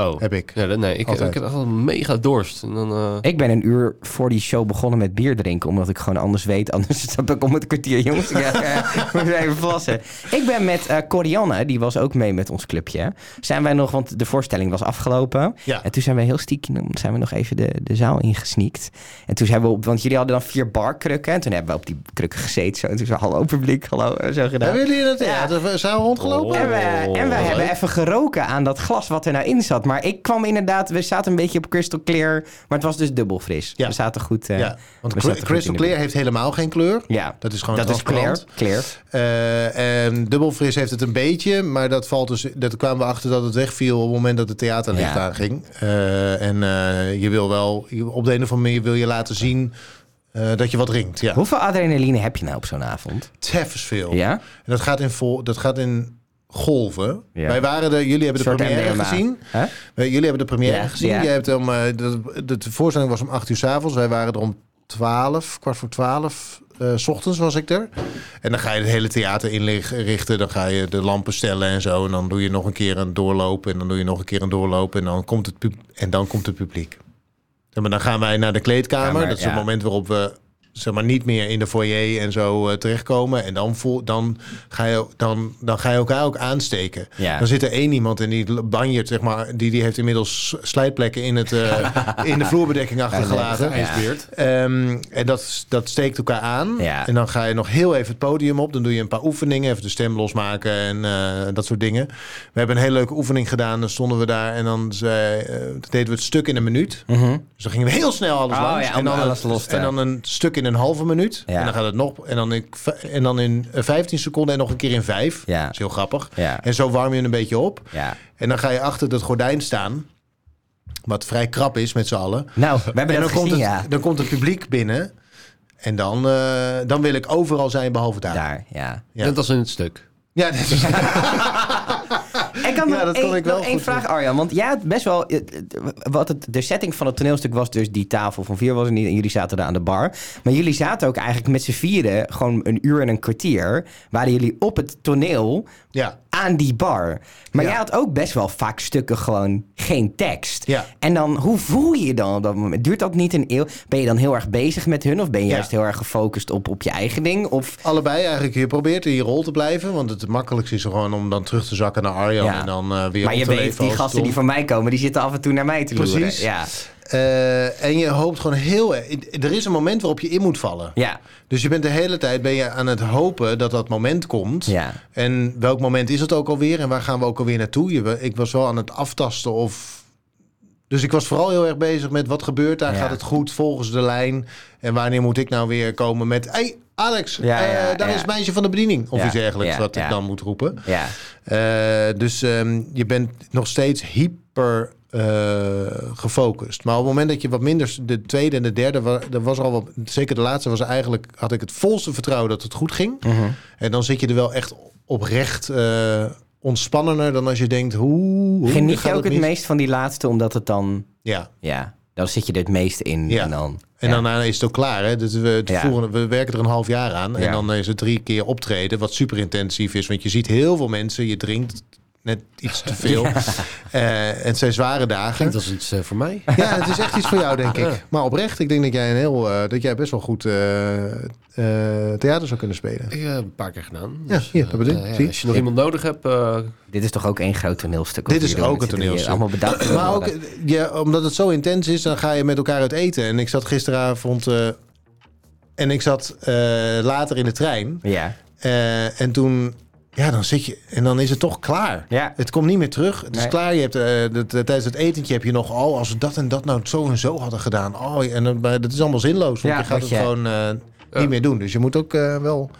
Oh.
heb ik.
Ja, dat- nee, ik, ik
Altijd.
heb echt wel mega dorst. En dan, eh,
Ik ben een uur voor die show begonnen met bier drinken. Omdat ik gewoon anders weet. Anders stap ik om het kwartier. Jongens, ik eh, moet even plassen. Ik ben met eh Corianne, die was ook mee met ons clubje. Zijn wij nog, want de voorstelling was afgelopen.
Ja.
En toen zijn we heel stiekem zijn we nog even de, de zaal ingesneakt. En toen zijn we op, want jullie hadden dan vier barkrukken. En toen hebben we op die krukken gezeten. Zo. En toen zei hallo publiek, hallo, eh, zo gedaan.
Hebben jullie in het
Ja.
theater zijn we rondgelopen?
En we, en we
Oh.
hebben even geroken aan dat glas wat er nou in zat. Maar ik kwam inderdaad, we zaten een beetje op crystal clear. Maar het was dus dubbel fris.
Ja.
We zaten goed. eh,
Ja, want
we
cri-
zaten goed
Crystal
in de-
Clear heeft helemaal geen kleur.
Ja,
Dat is gewoon
dat is clear.
transparant.
clear.
Eh, en Dubbelfris heeft het een beetje, maar dat valt dus. Dat kwamen we achter dat het wegviel op het moment dat het theaterlicht
Ja.
aanging. Eh, en eh, je wil wel je- op de een of andere manier wil je laten zien eh, dat je wat drinkt. Ja,
Hoeveel adrenaline heb je nou op zo'n avond?
teffens veel.
Ja?
En dat gaat in vol, dat gaat in golven.
Ja.
Wij waren er, jullie hebben de
Soort
première
MDMA.
gezien.
Hè?
Eh, jullie hebben de première
Ja,
gezien.
ja.
Jij hebt om, eh, de, de, de voorstelling was om 8 uur s'avonds. Wij waren er om 12, kwart voor 12. eh, s ochtends was ik er. En dan ga je het hele theater inrichten. Dan ga je de lampen stellen en zo. En dan doe je nog een keer een doorloop. En dan doe je nog een keer een doorloop. En dan komt het, pub- en dan komt het publiek. Ja, maar dan gaan wij naar de kleedkamer.
Ja, maar,
dat is
ja.
het moment waarop we zeg maar, niet meer in de foyer en zo eh, terechtkomen. En dan, voel, dan, ga je, dan, dan ga je elkaar ook aansteken.
Ja.
Dan zit er één iemand en die banjert, zeg maar, die, die heeft inmiddels slijtplekken in, het, eh, in de vloerbedekking achtergelaten.
IJsbeert.
Ehm, en dat, dat steekt elkaar aan.
Ja.
En dan ga je nog heel even het podium op. Dan doe je een paar oefeningen. Even de stem losmaken en eh, dat soort dingen. We hebben een hele leuke oefening gedaan. Dan stonden we daar en dan zei, eh, deden we het stuk in een minuut.
Mhm.
Dus dan gingen we heel snel alles
Oh
langs.
ja, om
en, dan
alles
een,
los te-
en dan een stuk in een halve minuut.
Ja.
En dan gaat het nog. En dan, in, v- en dan in eh, 15 seconden en nog een keer in vijf.
Ja.
Dat is heel grappig.
Ja.
En zo warm je het een beetje op.
Ja.
En dan ga je achter dat gordijn staan. Wat vrij krap is met z'n allen.
Nou, we hebben
En
dat
dan komt,
gezien,
het,
ja.
dan komt het publiek binnen. En dan, eh, dan wil ik overal zijn behalve daar.
Daar, ja.
Ja.
Net als in het stuk.
Ja, dat is-
Ik kan
Ja,
nog
dat
één,
kon ik wel
nog één
goed
vraag, Arjan. Want ja, het best wel. eh, eh, Wat het, de setting van het toneelstuk was dus die tafel van vier was er niet. En jullie zaten daar aan de bar. Maar jullie zaten ook eigenlijk met z'n vieren, gewoon een uur en een kwartier. Waren jullie op het toneel
ja.
aan die bar. Maar
Ja.
jij had ook best wel vaak stukken gewoon geen tekst.
Ja.
En dan, hoe voel je je dan op dat moment? Duurt dat niet een eeuw? Ben je dan heel erg bezig met hun? Of ben je
Ja.
juist heel erg gefocust op, op je eigen ding? Of
Allebei eigenlijk. Je probeert in je rol te blijven. Want het makkelijkste is gewoon om dan terug te zakken naar Arjan.
Ja.
En dan eh, weer
maar
op
je
te
weet,
leven
die
als
gasten
Tom.
die van mij komen, die zitten af en toe naar mij te loeren.
Precies.
Ja.
Eh, en je hoopt gewoon heel... erg- Er is een moment waarop je in moet vallen.
Ja.
Dus je bent de hele tijd ben je aan het hopen dat dat moment komt.
Ja.
En welk moment is het ook alweer? En waar gaan we ook alweer naartoe? Je- ik was wel aan het aftasten of... Dus ik was vooral heel erg bezig met wat gebeurt daar?
Ja.
Gaat het goed volgens de lijn? En wanneer moet ik nou weer komen met... hey, Alex,
Ja,
eh,
ja,
daar
ja.
is meisje van de bediening. Of
Ja,
iets dergelijks
ja,
wat
ja.
ik dan moet roepen.
Ja.
Eh, dus ehm, je bent nog steeds hyper eh, gefocust. Maar op het moment dat je wat minder... De tweede en de derde, wa- er was al wat, zeker de laatste was eigenlijk... had ik het volste vertrouwen dat het goed ging.
Mhm.
En dan zit je er wel echt oprecht eh ontspannender dan als je denkt... Hoe, hoe
Geniet je
gaat
ook het
mis?
meest van die laatste, omdat het dan...
Ja.
Ja, dan zit je er het meest in.
Ja.
En dan,
En
ja.
daarna is het ook klaar. Hè? Dus we, het
Ja.
volgende- we werken er een half jaar aan.
Ja.
En dan is het drie keer optreden, wat super intensief is. Want je ziet heel veel mensen, je drinkt net iets te veel. Eh, en het zijn zware dagen.
Klinkt als iets eh, voor mij.
Ja, het is echt iets voor jou, denk ik. Maar oprecht, ik denk dat jij, een heel, eh, dat jij best wel goed eh, eh, theater zou kunnen spelen.
Ik eh, heb een paar keer gedaan.
Ja, hier, dat bedoel ik.
eh,
Zie.
Als je nog iemand nodig hebt, eh,
Dit is toch ook één groot toneelstuk? wat
Dit is
jullie doen
ook
met
een
z'n drieën?
toneelstuk.
Allemaal bedacht.
Maar ook, eh, ja, omdat het zo intens is, dan ga je met elkaar uit eten. En ik zat gisteravond... eh, en ik zat eh, later in de trein.
Ja.
Eh, en toen, ja, dan zit je en dan is het toch klaar.
Ja.
Het komt niet meer terug. Het
Nee.
is klaar. Je hebt, eh, dat- dat- tijdens het etentje heb je nog, oh, als we dat en dat nou zo en zo hadden gedaan. Oh, en dan, maar dat is allemaal zinloos, want
Ja,
je gaat
dat
het
je-
gewoon eh, niet meer doen. Dus je moet ook eh, wel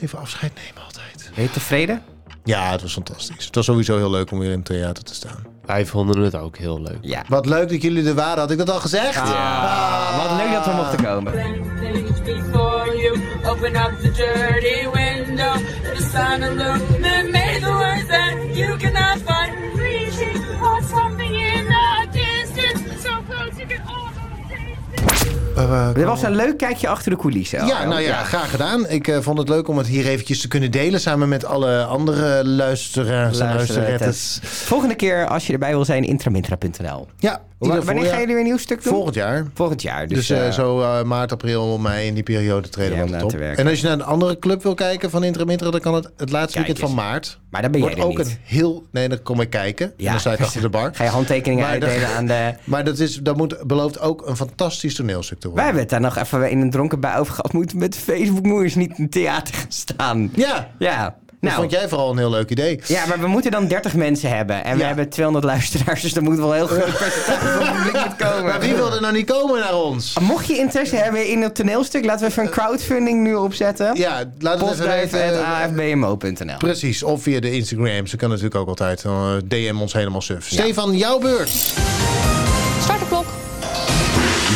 even afscheid nemen altijd.
Ben je tevreden?
Ja, het was fantastisch. Het was sowieso heel leuk om weer in het theater te staan.
wij vonden het ook heel leuk.
Ja.
Wat leuk dat jullie er waren. Had ik dat al gezegd?
Ah, wat leuk dat we mochten komen.
things before you. Open up the dirty window to the sun and look and made the words that you cannot find.
Reaching for something in the distance, so close you can almost taste it.
Eh,
Dit was een leuk kijkje achter de coulissen.
Ja,
Arjan.
nou ja, graag gedaan. Ik eh, vond het leuk om het hier eventjes te kunnen delen samen met alle andere luisteraars en luisterettes.
Eh, Volgende keer, als je erbij wil zijn, intramintra.nl.
Ja,
Wa-
ieder
Wanneer
voorjaar-
ga je weer een nieuw stuk doen?
Volgend jaar.
Volgend jaar. Dus,
Dus, eh,
eh,
zo eh, maart, april, mei in die periode treden
Ja, om
we
daar
het op.
te werken.
En als je naar een andere club wil kijken van Interim Intra, dan kan het het laatste
Kijk
weekend van
eens.
maart.
Maar dan ben jij
Wordt
er
ook
niet.
een heel... Nee, dan kom ik kijken.
Ja.
En dan sta ik achter de bar.
Ga je handtekeningen
Maar dat-
uitdelen aan de...
Maar dat, is, dat moet, belooft ook een fantastisch toneelstuk te
Wij
worden.
hebben het daar nog even in een dronken bij over gehad. Moeten met Facebook moeiers niet in theater gaan staan.
Ja,
Ja.
dat
Nou,
vond jij vooral een heel leuk idee.
ja, maar we moeten dan 30 mensen hebben. En we
Ja.
hebben 200 luisteraars, dus er moet wel een heel groot percentage van het publiek moeten
Maar wie
komen.
wil er nou niet komen naar ons?
Mocht je interesse hebben in het toneelstuk, laten we even een crowdfunding nu opzetten.
Ja, laat het even weten.
Postduif.afbmo.nl
Precies, of via de Instagram. Ze kan natuurlijk ook altijd. Dan, eh, DM ons helemaal suf. Stefan, jouw beurt.
Start de klok.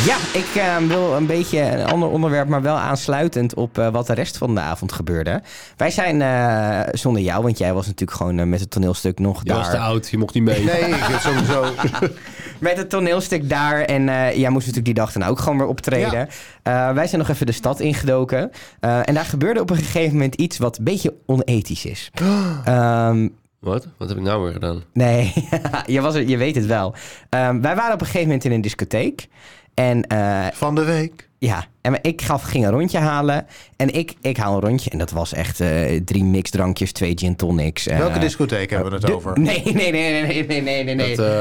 Ja, ik eh, wil een beetje een ander onderwerp, maar wel aansluitend op eh, wat de rest van de avond gebeurde. Wij zijn eh, zonder jou, want jij was natuurlijk gewoon eh, met het toneelstuk nog
Je was te
daar.
oud, je mocht niet mee.
Nee, ik heb sowieso.
Met het toneelstuk daar en eh, jij moest natuurlijk die dag dan ook gewoon weer optreden. Eh, wij zijn nog even de stad ingedoken. Eh, en daar gebeurde op een gegeven moment iets wat een beetje onethisch is. Ehm,
Wat? Wat heb ik nou weer gedaan?
Nee, je, was er, je weet het wel. Ehm, wij waren op een gegeven moment in een discotheek. En eh,
Van de week.
Ja, en ik gaf, ging een rondje halen. En ik, ik haal een rondje. En dat was echt eh, drie mixdrankjes, twee gin tonics. eh,
Welke discotheek hebben we het
de-
over?
Nee, nee, nee, nee, nee, nee, nee, nee. nee.
Dat, eh,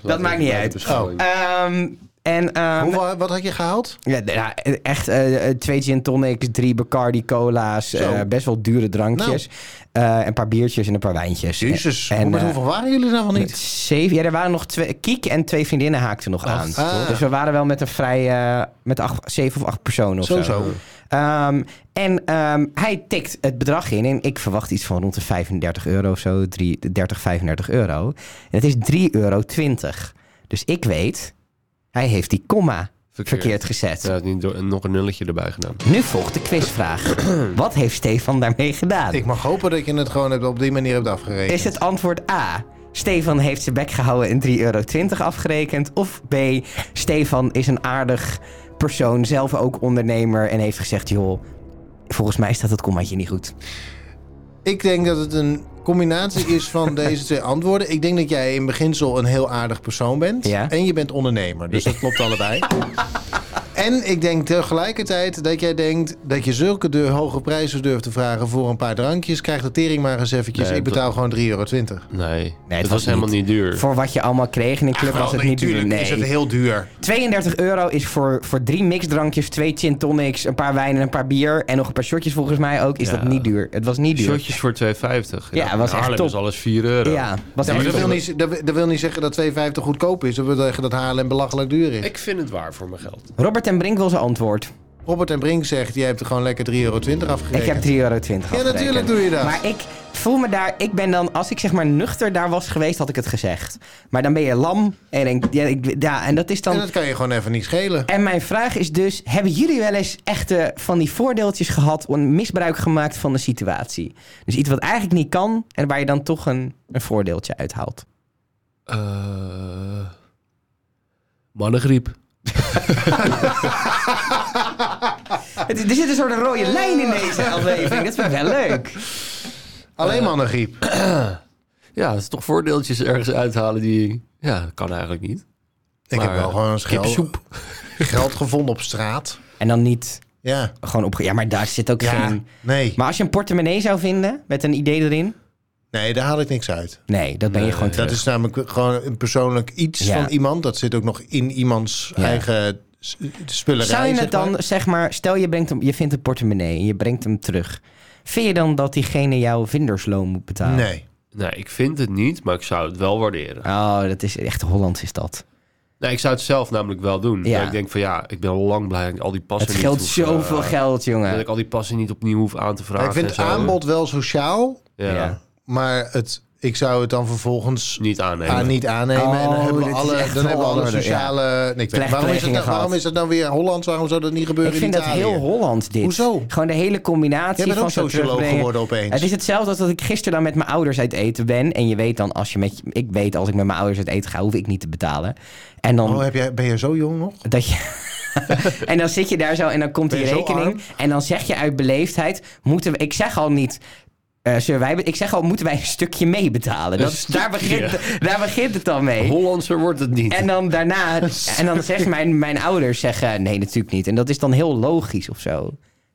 laten we
maakt niet
bij de
uit.
beschouwing.
Ehm, en ehm,
Hoeveel, wat had je gehaald?
ja, d- ja, echt eh, eh, twee gin tonics, drie Bacardi cola's.
Zo. Nou.
eh, best wel dure drankjes. Eh, een paar biertjes en een paar wijntjes.
Jezus,
en,
hoe- met
eh,
hoeveel waren jullie daar wel niet?
Zeven. Ja, er waren nog twee. Kiek en twee vriendinnen haakten nog aan.
ah.
Dus we waren wel met een vrij. eh, met acht, zeven of acht personen of zo.
Zo, zo.
Ehm, en ehm, hij tikt het bedrag in. En ik verwacht iets van rond de 35 euro of zo. Drie- 30, 35 euro. En het is 3,20 euro. Dus ik weet, hij heeft die comma verkeerd,
Verkeerd.
gezet.
Ja, niet door, nog een nulletje erbij gedaan.
Nu volgt de quizvraag. Wat heeft Stefan daarmee gedaan?
Ik mag hopen dat je het gewoon hebt, op die manier hebt afgerekend.
Is het antwoord A. Stefan heeft zijn bek gehouden en 3,20 euro afgerekend? Of B. Stefan is een aardig persoon, zelf ook ondernemer en heeft gezegd: joh, volgens mij staat het kommaatje niet goed.
Ik denk dat het een combinatie is van deze twee antwoorden. Ik denk dat jij in beginsel een heel aardig persoon bent.
Ja.
En je bent ondernemer, dus dat klopt allebei. En ik denk tegelijkertijd dat jij denkt dat je zulke duur, hoge prijzen durft te vragen voor een paar drankjes. Krijg de tering maar eens eventjes.
Nee,
ik betaal
dat-
gewoon 3,20 euro.
Nee, het,
was
was, helemaal
niet-
niet duur.
Voor wat je allemaal kreeg in een club was het niet duur.
Oh, is het
Nee.
heel duur.
32 euro is voor, voor drie mixdrankjes, twee gin tonics, een paar wijn en een paar bier. En nog een paar shotjes volgens mij ook. Is
Ja.
dat niet duur? Het was niet duur.
Shotjes voor 2,50.
Ja, was
in
echt
Haarlem
top.
is alles 4 euro.
Ja, was
Ja, maar
echt
dat wil, niet, dat, dat wil niet zeggen dat 2,50 goedkoop is. Dat wil zeggen dat Haarlem belachelijk duur is.
Ik vind het waar voor mijn geld.
Robert en Brink wil zijn antwoord.
Robert en Brink zegt, jij hebt gewoon lekker 3,20 euro afgerekend.
Ik heb 3,20 euro. Ja,
natuurlijk doe je dat.
Maar ik voel me daar, ik ben dan, als ik zeg maar nuchter daar was geweest, had ik het gezegd. Maar dan ben je lam en je denkt, ja, ik, ja en dat is dan.
En
En,
dat kan je gewoon even niet schelen.
mijn vraag is dus: hebben jullie wel eens echte van die voordeeltjes gehad, een misbruik gemaakt van de situatie? Dus iets wat eigenlijk niet kan en waar je dan toch een, een voordeeltje uithaalt.
Eh mannengriep.
Ah.
Het, er zit een soort rode lijn in deze aflevering. Dat vind ik wel leuk.
Alleen mannengriep.
Ja, dat is toch voordeeltjes ergens uithalen die... Ja, dat kan eigenlijk niet.
Ik
Maar,
heb wel
eh,
gewoon een schel,
Kipsoep.
geld gevonden op straat.
En dan niet
Ja.
gewoon op. Ja, maar daar zit ook
Ja.
geen.
Nee.
Maar als je een portemonnee zou vinden met een idee erin.
Nee, daar haal ik niks uit.
Nee, dat ben je gewoon
Dat is namelijk gewoon een persoonlijk iets
Ja.
van iemand. Dat zit ook nog in iemands
Ja.
eigen s- spullerij.
Zou je
zeg
het dan,
maar.
zeg maar, stel je, brengt hem, je vindt een portemonnee en je brengt hem terug. Vind je dan dat diegene jouw vindersloon moet betalen?
Nee.
Nee, ik vind het niet, maar ik zou het wel waarderen.
Oh, dat is echt Hollands is dat.
Nee, ik zou het zelf namelijk wel doen.
Ja.
Ik denk van ja, ik ben al lang blij dat ik al die passen
Het
niet
scheelt
hoef,
zoveel
eh,
geld,
Dat
jongen.
ik al die passen niet opnieuw hoef aan te vragen.
ik vind
en
het
zo.
aanbod wel sociaal,
Ja,
Ja.
maar het, ik zou het dan vervolgens
niet aannemen.
aan, niet aannemen. en dan
Oh,
hebben we
dit is
alle,
echt
dan hebben we alle
Hollander,
sociale... Nee, ik weet- waarom, is het
Plechtplegingen
dan, waarom
gehad.
is het dan weer Hollands? Waarom zou dat niet
Ik
gebeuren in
vind dat
Italië?
heel Hollands dit.
Hoezo?
Gewoon de hele combinatie
Jij bent
van
ook
zo
socioloog
terugbrengen.
geworden opeens.
Het is hetzelfde als dat ik gisteren dan met mijn ouders uit eten ben. En je weet dan, als je met, je- ik weet als ik met mijn ouders uit eten ga, hoef ik niet te betalen. En dan
Oh, heb jij, ben je zo jong nog?
Dat je... en dan zit je daar zo en dan komt
Ben
die
je zo
rekening.
arm?
En dan zeg je uit beleefdheid: moeten we, ik zeg al niet. eh, zullen wij, be- ik zeg al, moeten wij een stukje meebetalen? Dat is- Daar, begint, daar begint het dan mee.
Hollandser wordt het niet.
En dan daarna, en dan zeggen mijn, mijn ouders: zeggen, nee, natuurlijk niet. En dat is dan heel logisch of zo.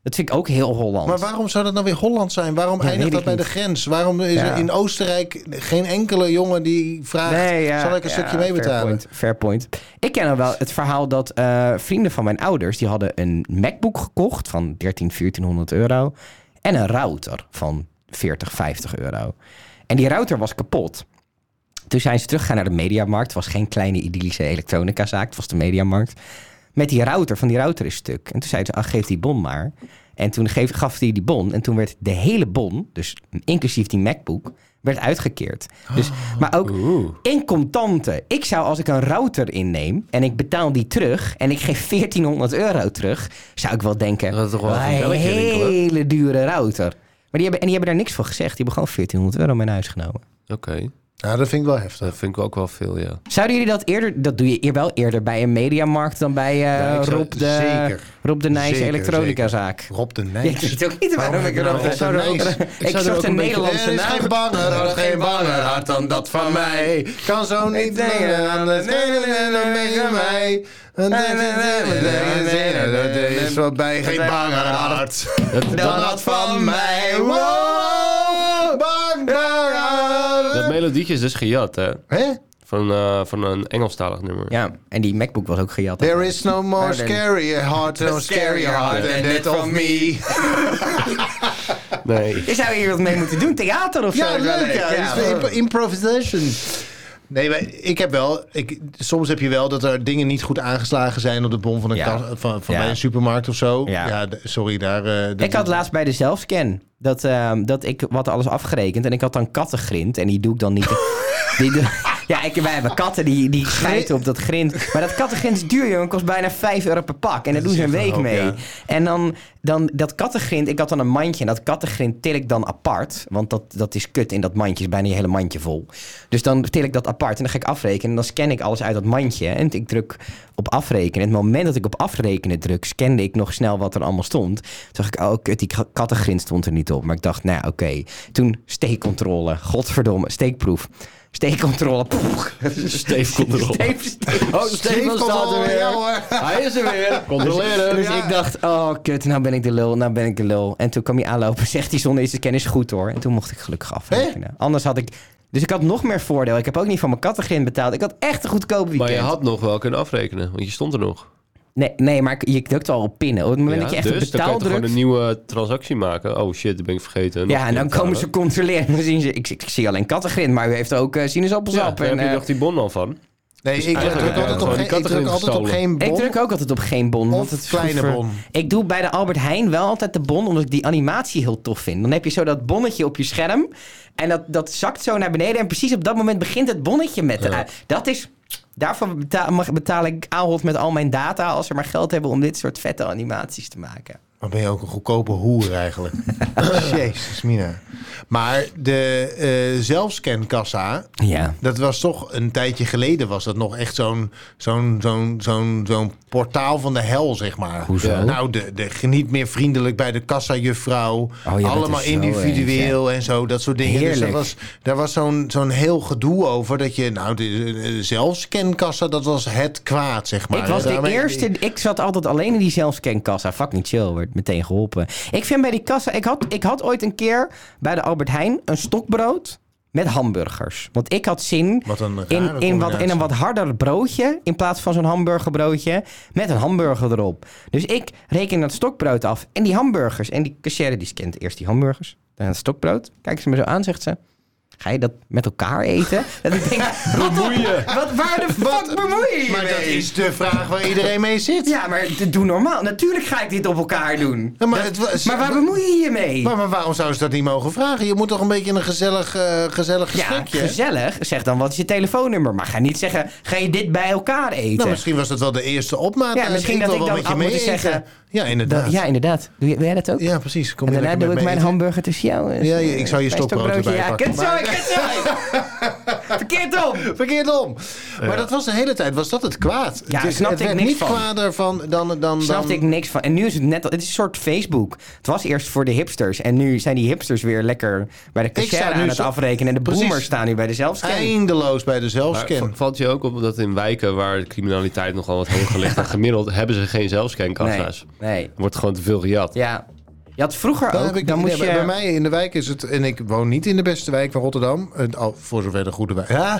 Dat vind ik ook heel Holland.
Maar waarom zou dat nou weer Holland zijn? Waarom
Ja, weet
eindigt dat
ik
bij de
niet.
grens? Waarom is
Ja.
er in Oostenrijk geen enkele jongen die vraagt...
ja,
zal ik een
ja,
stukje meebetalen?
Fair point, fair point. Ik ken al wel het verhaal dat eh, vrienden van mijn ouders... die hadden een MacBook gekocht van 13, 1400 euro... en een router van 40, 50 euro. En die router was kapot. Toen zijn ze teruggegaan naar de mediamarkt. Het was geen kleine idyllische elektronica-zaak. Het was de mediamarkt. Met die router, van die router is stuk. En toen zeiden ze, ah, geef die bon maar. En toen geef, gaf hij die bon. En toen werd de hele bon, dus inclusief die MacBook, werd uitgekeerd. Dus,
Ah,
maar ook in contanten. Ik zou, als ik een router inneem en ik betaal die terug... en ik geef 1400 euro terug, zou ik wel denken...
Dat is toch wel even een
een
belletje rinkelen."
hele dure router. Maar die hebben, en die hebben daar niks van gezegd. Die hebben gewoon 1400 euro mee naar huis genomen.
Oké,
Ja, dat vind ik wel heftig.
dat vind ik ook wel veel, ja.
Zouden jullie dat eerder... Dat doe je eer- wel eerder bij een mediamarkt dan bij eh,
ik zou-
Rob, de,
zeker.
Rob de Nijs
Zeker,
elektronicazaak.
Rob de
Ja, Ik
Nijs.
weet ook niet waarom ik
nou
erop
Rob de Nijs?
Ik zocht een Nederlandse
Er is
naam.
geen banger hart, geen banger hart dan dat van mij. Kan zo niet denken aan het vele en dan ben je mij. Er is wat bij geen bang aan hart. Dan had van mij. Wow, bang, bang aan
Dat
hart.
melodietje is dus gejat, hè?
Hè?
Van, eh, van een Engelstalig nummer.
Ja, en die MacBook was ook gejat.
There is no more
Maar dan-
scary heart, no scary heart than that of me.
Nee.
Je zou hier wat mee moeten doen, theater of zo.
Ja, leuk ja.
Ja,
Dus
hoor.
imp- improvisation. Nee, maar ik heb wel. Ik, soms heb je wel dat er dingen niet goed aangeslagen zijn op de bom van een,
Ja.
kas- van, van
Ja.
bij een supermarkt of zo. Ja,
Ja.
d- sorry daar. eh, dat-
Ik had laatst bij de zelfscan dat, ehm, dat ik wat alles afgerekend en ik had dan kattengrind en die doe ik dan niet. die doe- ja, ik, wij hebben katten die, die schijten op dat grind. Maar dat kattengrind is duur, jongen. Kost bijna 5 euro per pak. En daar doen ze een week
hoop,
mee.
ja.
En dan, dan dat kattengrind, ik had dan een mandje. En dat kattengrind til ik dan apart. Want dat, dat is kut in dat mandje. is bijna je hele mandje vol. Dus dan til ik dat apart. En dan ga ik afrekenen. En dan scan ik alles uit dat mandje. En ik druk op afrekenen. En het moment dat ik op afrekenen druk, scande ik nog snel wat er allemaal stond. Toen dacht ik, oh kut, die ka- kattengrind stond er niet op. Maar ik dacht, nou ja, oké. Toen steekcontrole. Godverdomme, steekproef. Steekcontrole. Poeh.
Steef komt erop.
Steef, steef.
Oh,
Steef
Stefan staat er
Koppel, ja,
weer.
hoor.
Hij is er weer. Controleren.
Dus
Ja.
ik dacht, oh kut, nou ben ik de lul, nou ben ik de lul. En toen kwam hij aanlopen, zegt hij zonder iets te kennen is goed hoor. En toen mocht ik gelukkig afrekenen. Anders had ik, dus ik had nog meer voordeel. Ik heb ook niet van mijn kattengrind betaald. Ik had echt een goedkoop weekend.
Maar je had nog wel kunnen afrekenen, want je stond er nog.
nee, nee, maar ik- je drukt wel op pinnen. Op het moment dat je echt
dus
op
dan kan je toch
betaaldruk...
gewoon een nieuwe transactie maken. Oh shit, dat ben ik vergeten. Nog
Ja, en dan
een keer
komen ze controleren. Dan zien ze, ik, ik, ik zie alleen kattengrind, maar u heeft ook eh,
Ja,
sinaasappelsap.
daar
en,
heb je
eh,
nog die bon dan van.
Nee,
Dus
ik druk
eigenlijk, ja,
altijd op
gewoon die
geen- ik druk
categorie
altijd op
gestolen.
geen bom.
Ik druk ook altijd op geen bon. want
Of
het is
kleine
goed voor-
bon.
Ik doe bij de Albert Heijn wel altijd de bon, omdat ik die animatie heel tof vind. Dan heb je zo dat bonnetje op je scherm. En dat, dat zakt zo naar beneden. En precies op dat moment begint het bonnetje met de... Dat is... Daarvoor betaal, mag, betaal ik Ahold met al mijn data... als ze maar geld hebben om dit soort vette animaties te maken.
Maar ben je ook een goedkope hoer eigenlijk. Jezus, Mina. Maar de eh zelfscankassa,
Ja.
dat was toch een tijdje geleden was dat nog echt zo'n zo'n zo'n zo'n zo'n portaal van de hel, zeg maar.
Hoezo?
Ja. Nou, de, de geniet meer vriendelijk bij de kassa-juffrouw.
je bent
allemaal
er zo
individueel en zo, dat soort dingen. Dus dat
Heerlijk.
was, daar was zo'n zo'n heel gedoe over dat je, nou, de, de zelfscankassa, dat was het kwaad, zeg maar.
Ik was de
Daarmee-
eerste. Ik zat altijd alleen in die zelfscankassa. Fuck niet chill, werd meteen geholpen. Ik vind bij die kassa. Ik had, ik had ooit een keer bij de Albert Heijn een stokbrood met hamburgers. Want ik had zin
Wat een rare
in, in, wat, in
combinatie.
een wat harder broodje. In plaats van zo'n hamburgerbroodje. Met een hamburger erop. Dus ik reken dat stokbrood af. En die hamburgers. En die cashier die scant eerst die hamburgers. Dan het stokbrood. Kijkt ze me zo aan, zegt ze. Ga je dat met elkaar eten? Dat ik denk, wat, wat, waar de fuck bemoei je je
Maar dat
mee?
is de vraag waar iedereen mee zit.
Ja, maar d- doe normaal. Natuurlijk ga ik dit op elkaar doen.
Ja, maar, het was-
Maar waar bemoei je je mee?
Maar, maar waarom zouden ze dat niet mogen vragen? Je moet toch een beetje een gezellig, eh, gezellig
Ja,
gesprekje.
gezellig. Zeg dan wat is je telefoonnummer. Maar ga niet zeggen, ga je dit bij elkaar eten?
nou, misschien was dat wel de eerste opmaat.
Ja,
Eh,
misschien dat
wil
ik
wel
dan
met je
had moeten
meeeten.
zeggen-
Ja, inderdaad.
Dat- ja, inderdaad. Doe, je- wil jij dat ook?
Ja, precies. Kom
en
je
daarna doe
lekker
ik
met
mijn
me eten.
hamburger tussen jou. en-
Ja, ja, ik zou je
Mijn
stokbrood erbij
Ja,
pakken.
kut zo, kut zo. Verkeerd op.
Verkeerd om. Maar dat was de hele tijd, was dat het kwaad?
Ja,
het is,
snapte
het
ik
werd
niks
niet
van.
kwaader van dan... dan, dan
Snapte ik niks van. En nu is het net al, het is een soort Facebook. Het was eerst voor de hipsters. En nu zijn die hipsters weer lekker bij de
sta
cashier
nu
aan het
zo-
afrekenen. En de
Precies.
boomers staan nu bij de zelfscan.
Eindeloos bij de
Maar
zelfscan.
v- valt je ook op dat in wijken waar de criminaliteit nogal wat hoger ligt dan gemiddeld, hebben ze geen zelfscankassa's.
nee.
Wordt gewoon te veel gejat.
Ja. Je had vroeger
Dan
ook,
heb ik,
dan
nee,
moest
bij-
je...
Bij mij in de wijk is het... En ik woon niet in de beste wijk van Rotterdam. eh, al voor zover de goede wijk. Ja.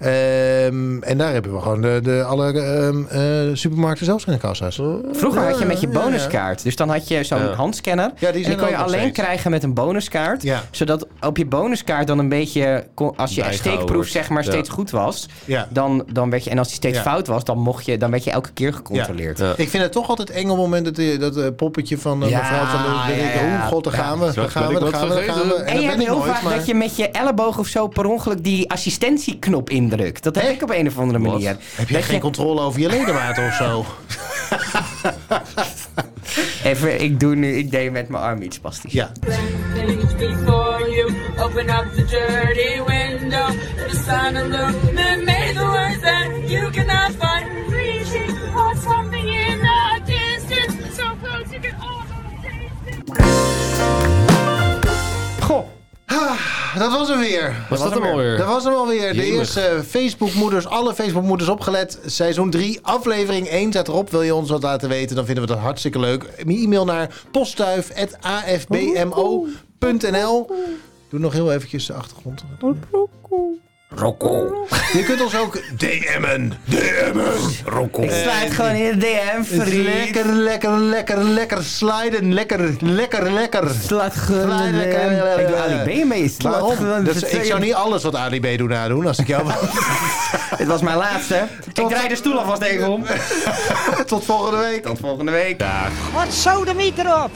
Ehm, en daar hebben we gewoon de, de alle ehm, eh, supermarkten zelfs geen kassa's.
Vroeger had je met je
Ja, ja, ja.
bonuskaart. Dus dan had je zo'n
Ja.
handscanner.
zijn
en die kon
er
je
ook nog
alleen
steeds.
krijgen met een bonuskaart.
Ja.
Zodat op je bonuskaart dan een beetje... kon- Als je
Bijgehouden
steekproef
wordt.
zeg maar
Ja.
steeds goed was...
Ja.
Dan, dan werd je... En als die steeds
Ja.
fout was, dan, mocht je, dan werd je elke keer gecontroleerd.
Ja. Ja.
Ik vind het toch altijd eng op het moment dat, eh, dat eh, poppetje van eh,
Ja,
mevrouw van de
ja, ja.
Oh god, daar gaan we, daar
Straks
gaan
ben
we,
ik
daar
wat
gaan we, daar gaan we.
vergeten.
En, je
dat
hebt
ben ik
heel
nooit,
vaak
maar-
dat je met je elleboog of zo per ongeluk die assistentieknop indrukt. Dat heb ik op een of andere
Wat?
manier.
Heb jij
Dat
geen
je-
controle over je ledematen of zo?
Even, ik doe nu, ik deed met mijn arm iets plastisch.
Ja.
things before you. Open up the dirty window. The sun illuminate the words that you cannot find.
Reaching for something in the distance, so close you can almost taste it.
Goh,
Ah, dat was hem weer.
Was dat hem alweer?
Dat was hem alweer. De
Jemig.
eerste Facebookmoeders, alle Facebookmoeders opgelet. Seizoen 3, aflevering 1 staat erop. Wil je ons wat laten weten, dan vinden we dat hartstikke leuk. Een E-mail naar postduif.afbmo.nl Doe nog heel eventjes de achtergrond. Rokko. Je kunt ons ook DM'en. DM'en. Rokko.
Ik sluit gewoon in de DM, vriend.
Lekker, lekker, lekker, lekker. Sliden. Lekker, lekker, lekker.
Slaat gewoon in de DM. Ik doe Ali B mee. Slaat gewoon
Waarom?
in
Dat is-
de
ik zou
DM.
niet alles wat Ali B doet nadoen als ik jou
Dit was mijn laatste. Ik
Tot-
draai de stoel alvast tegenom.
Tot volgende week.
Tot volgende week.
Wat zo de meter op?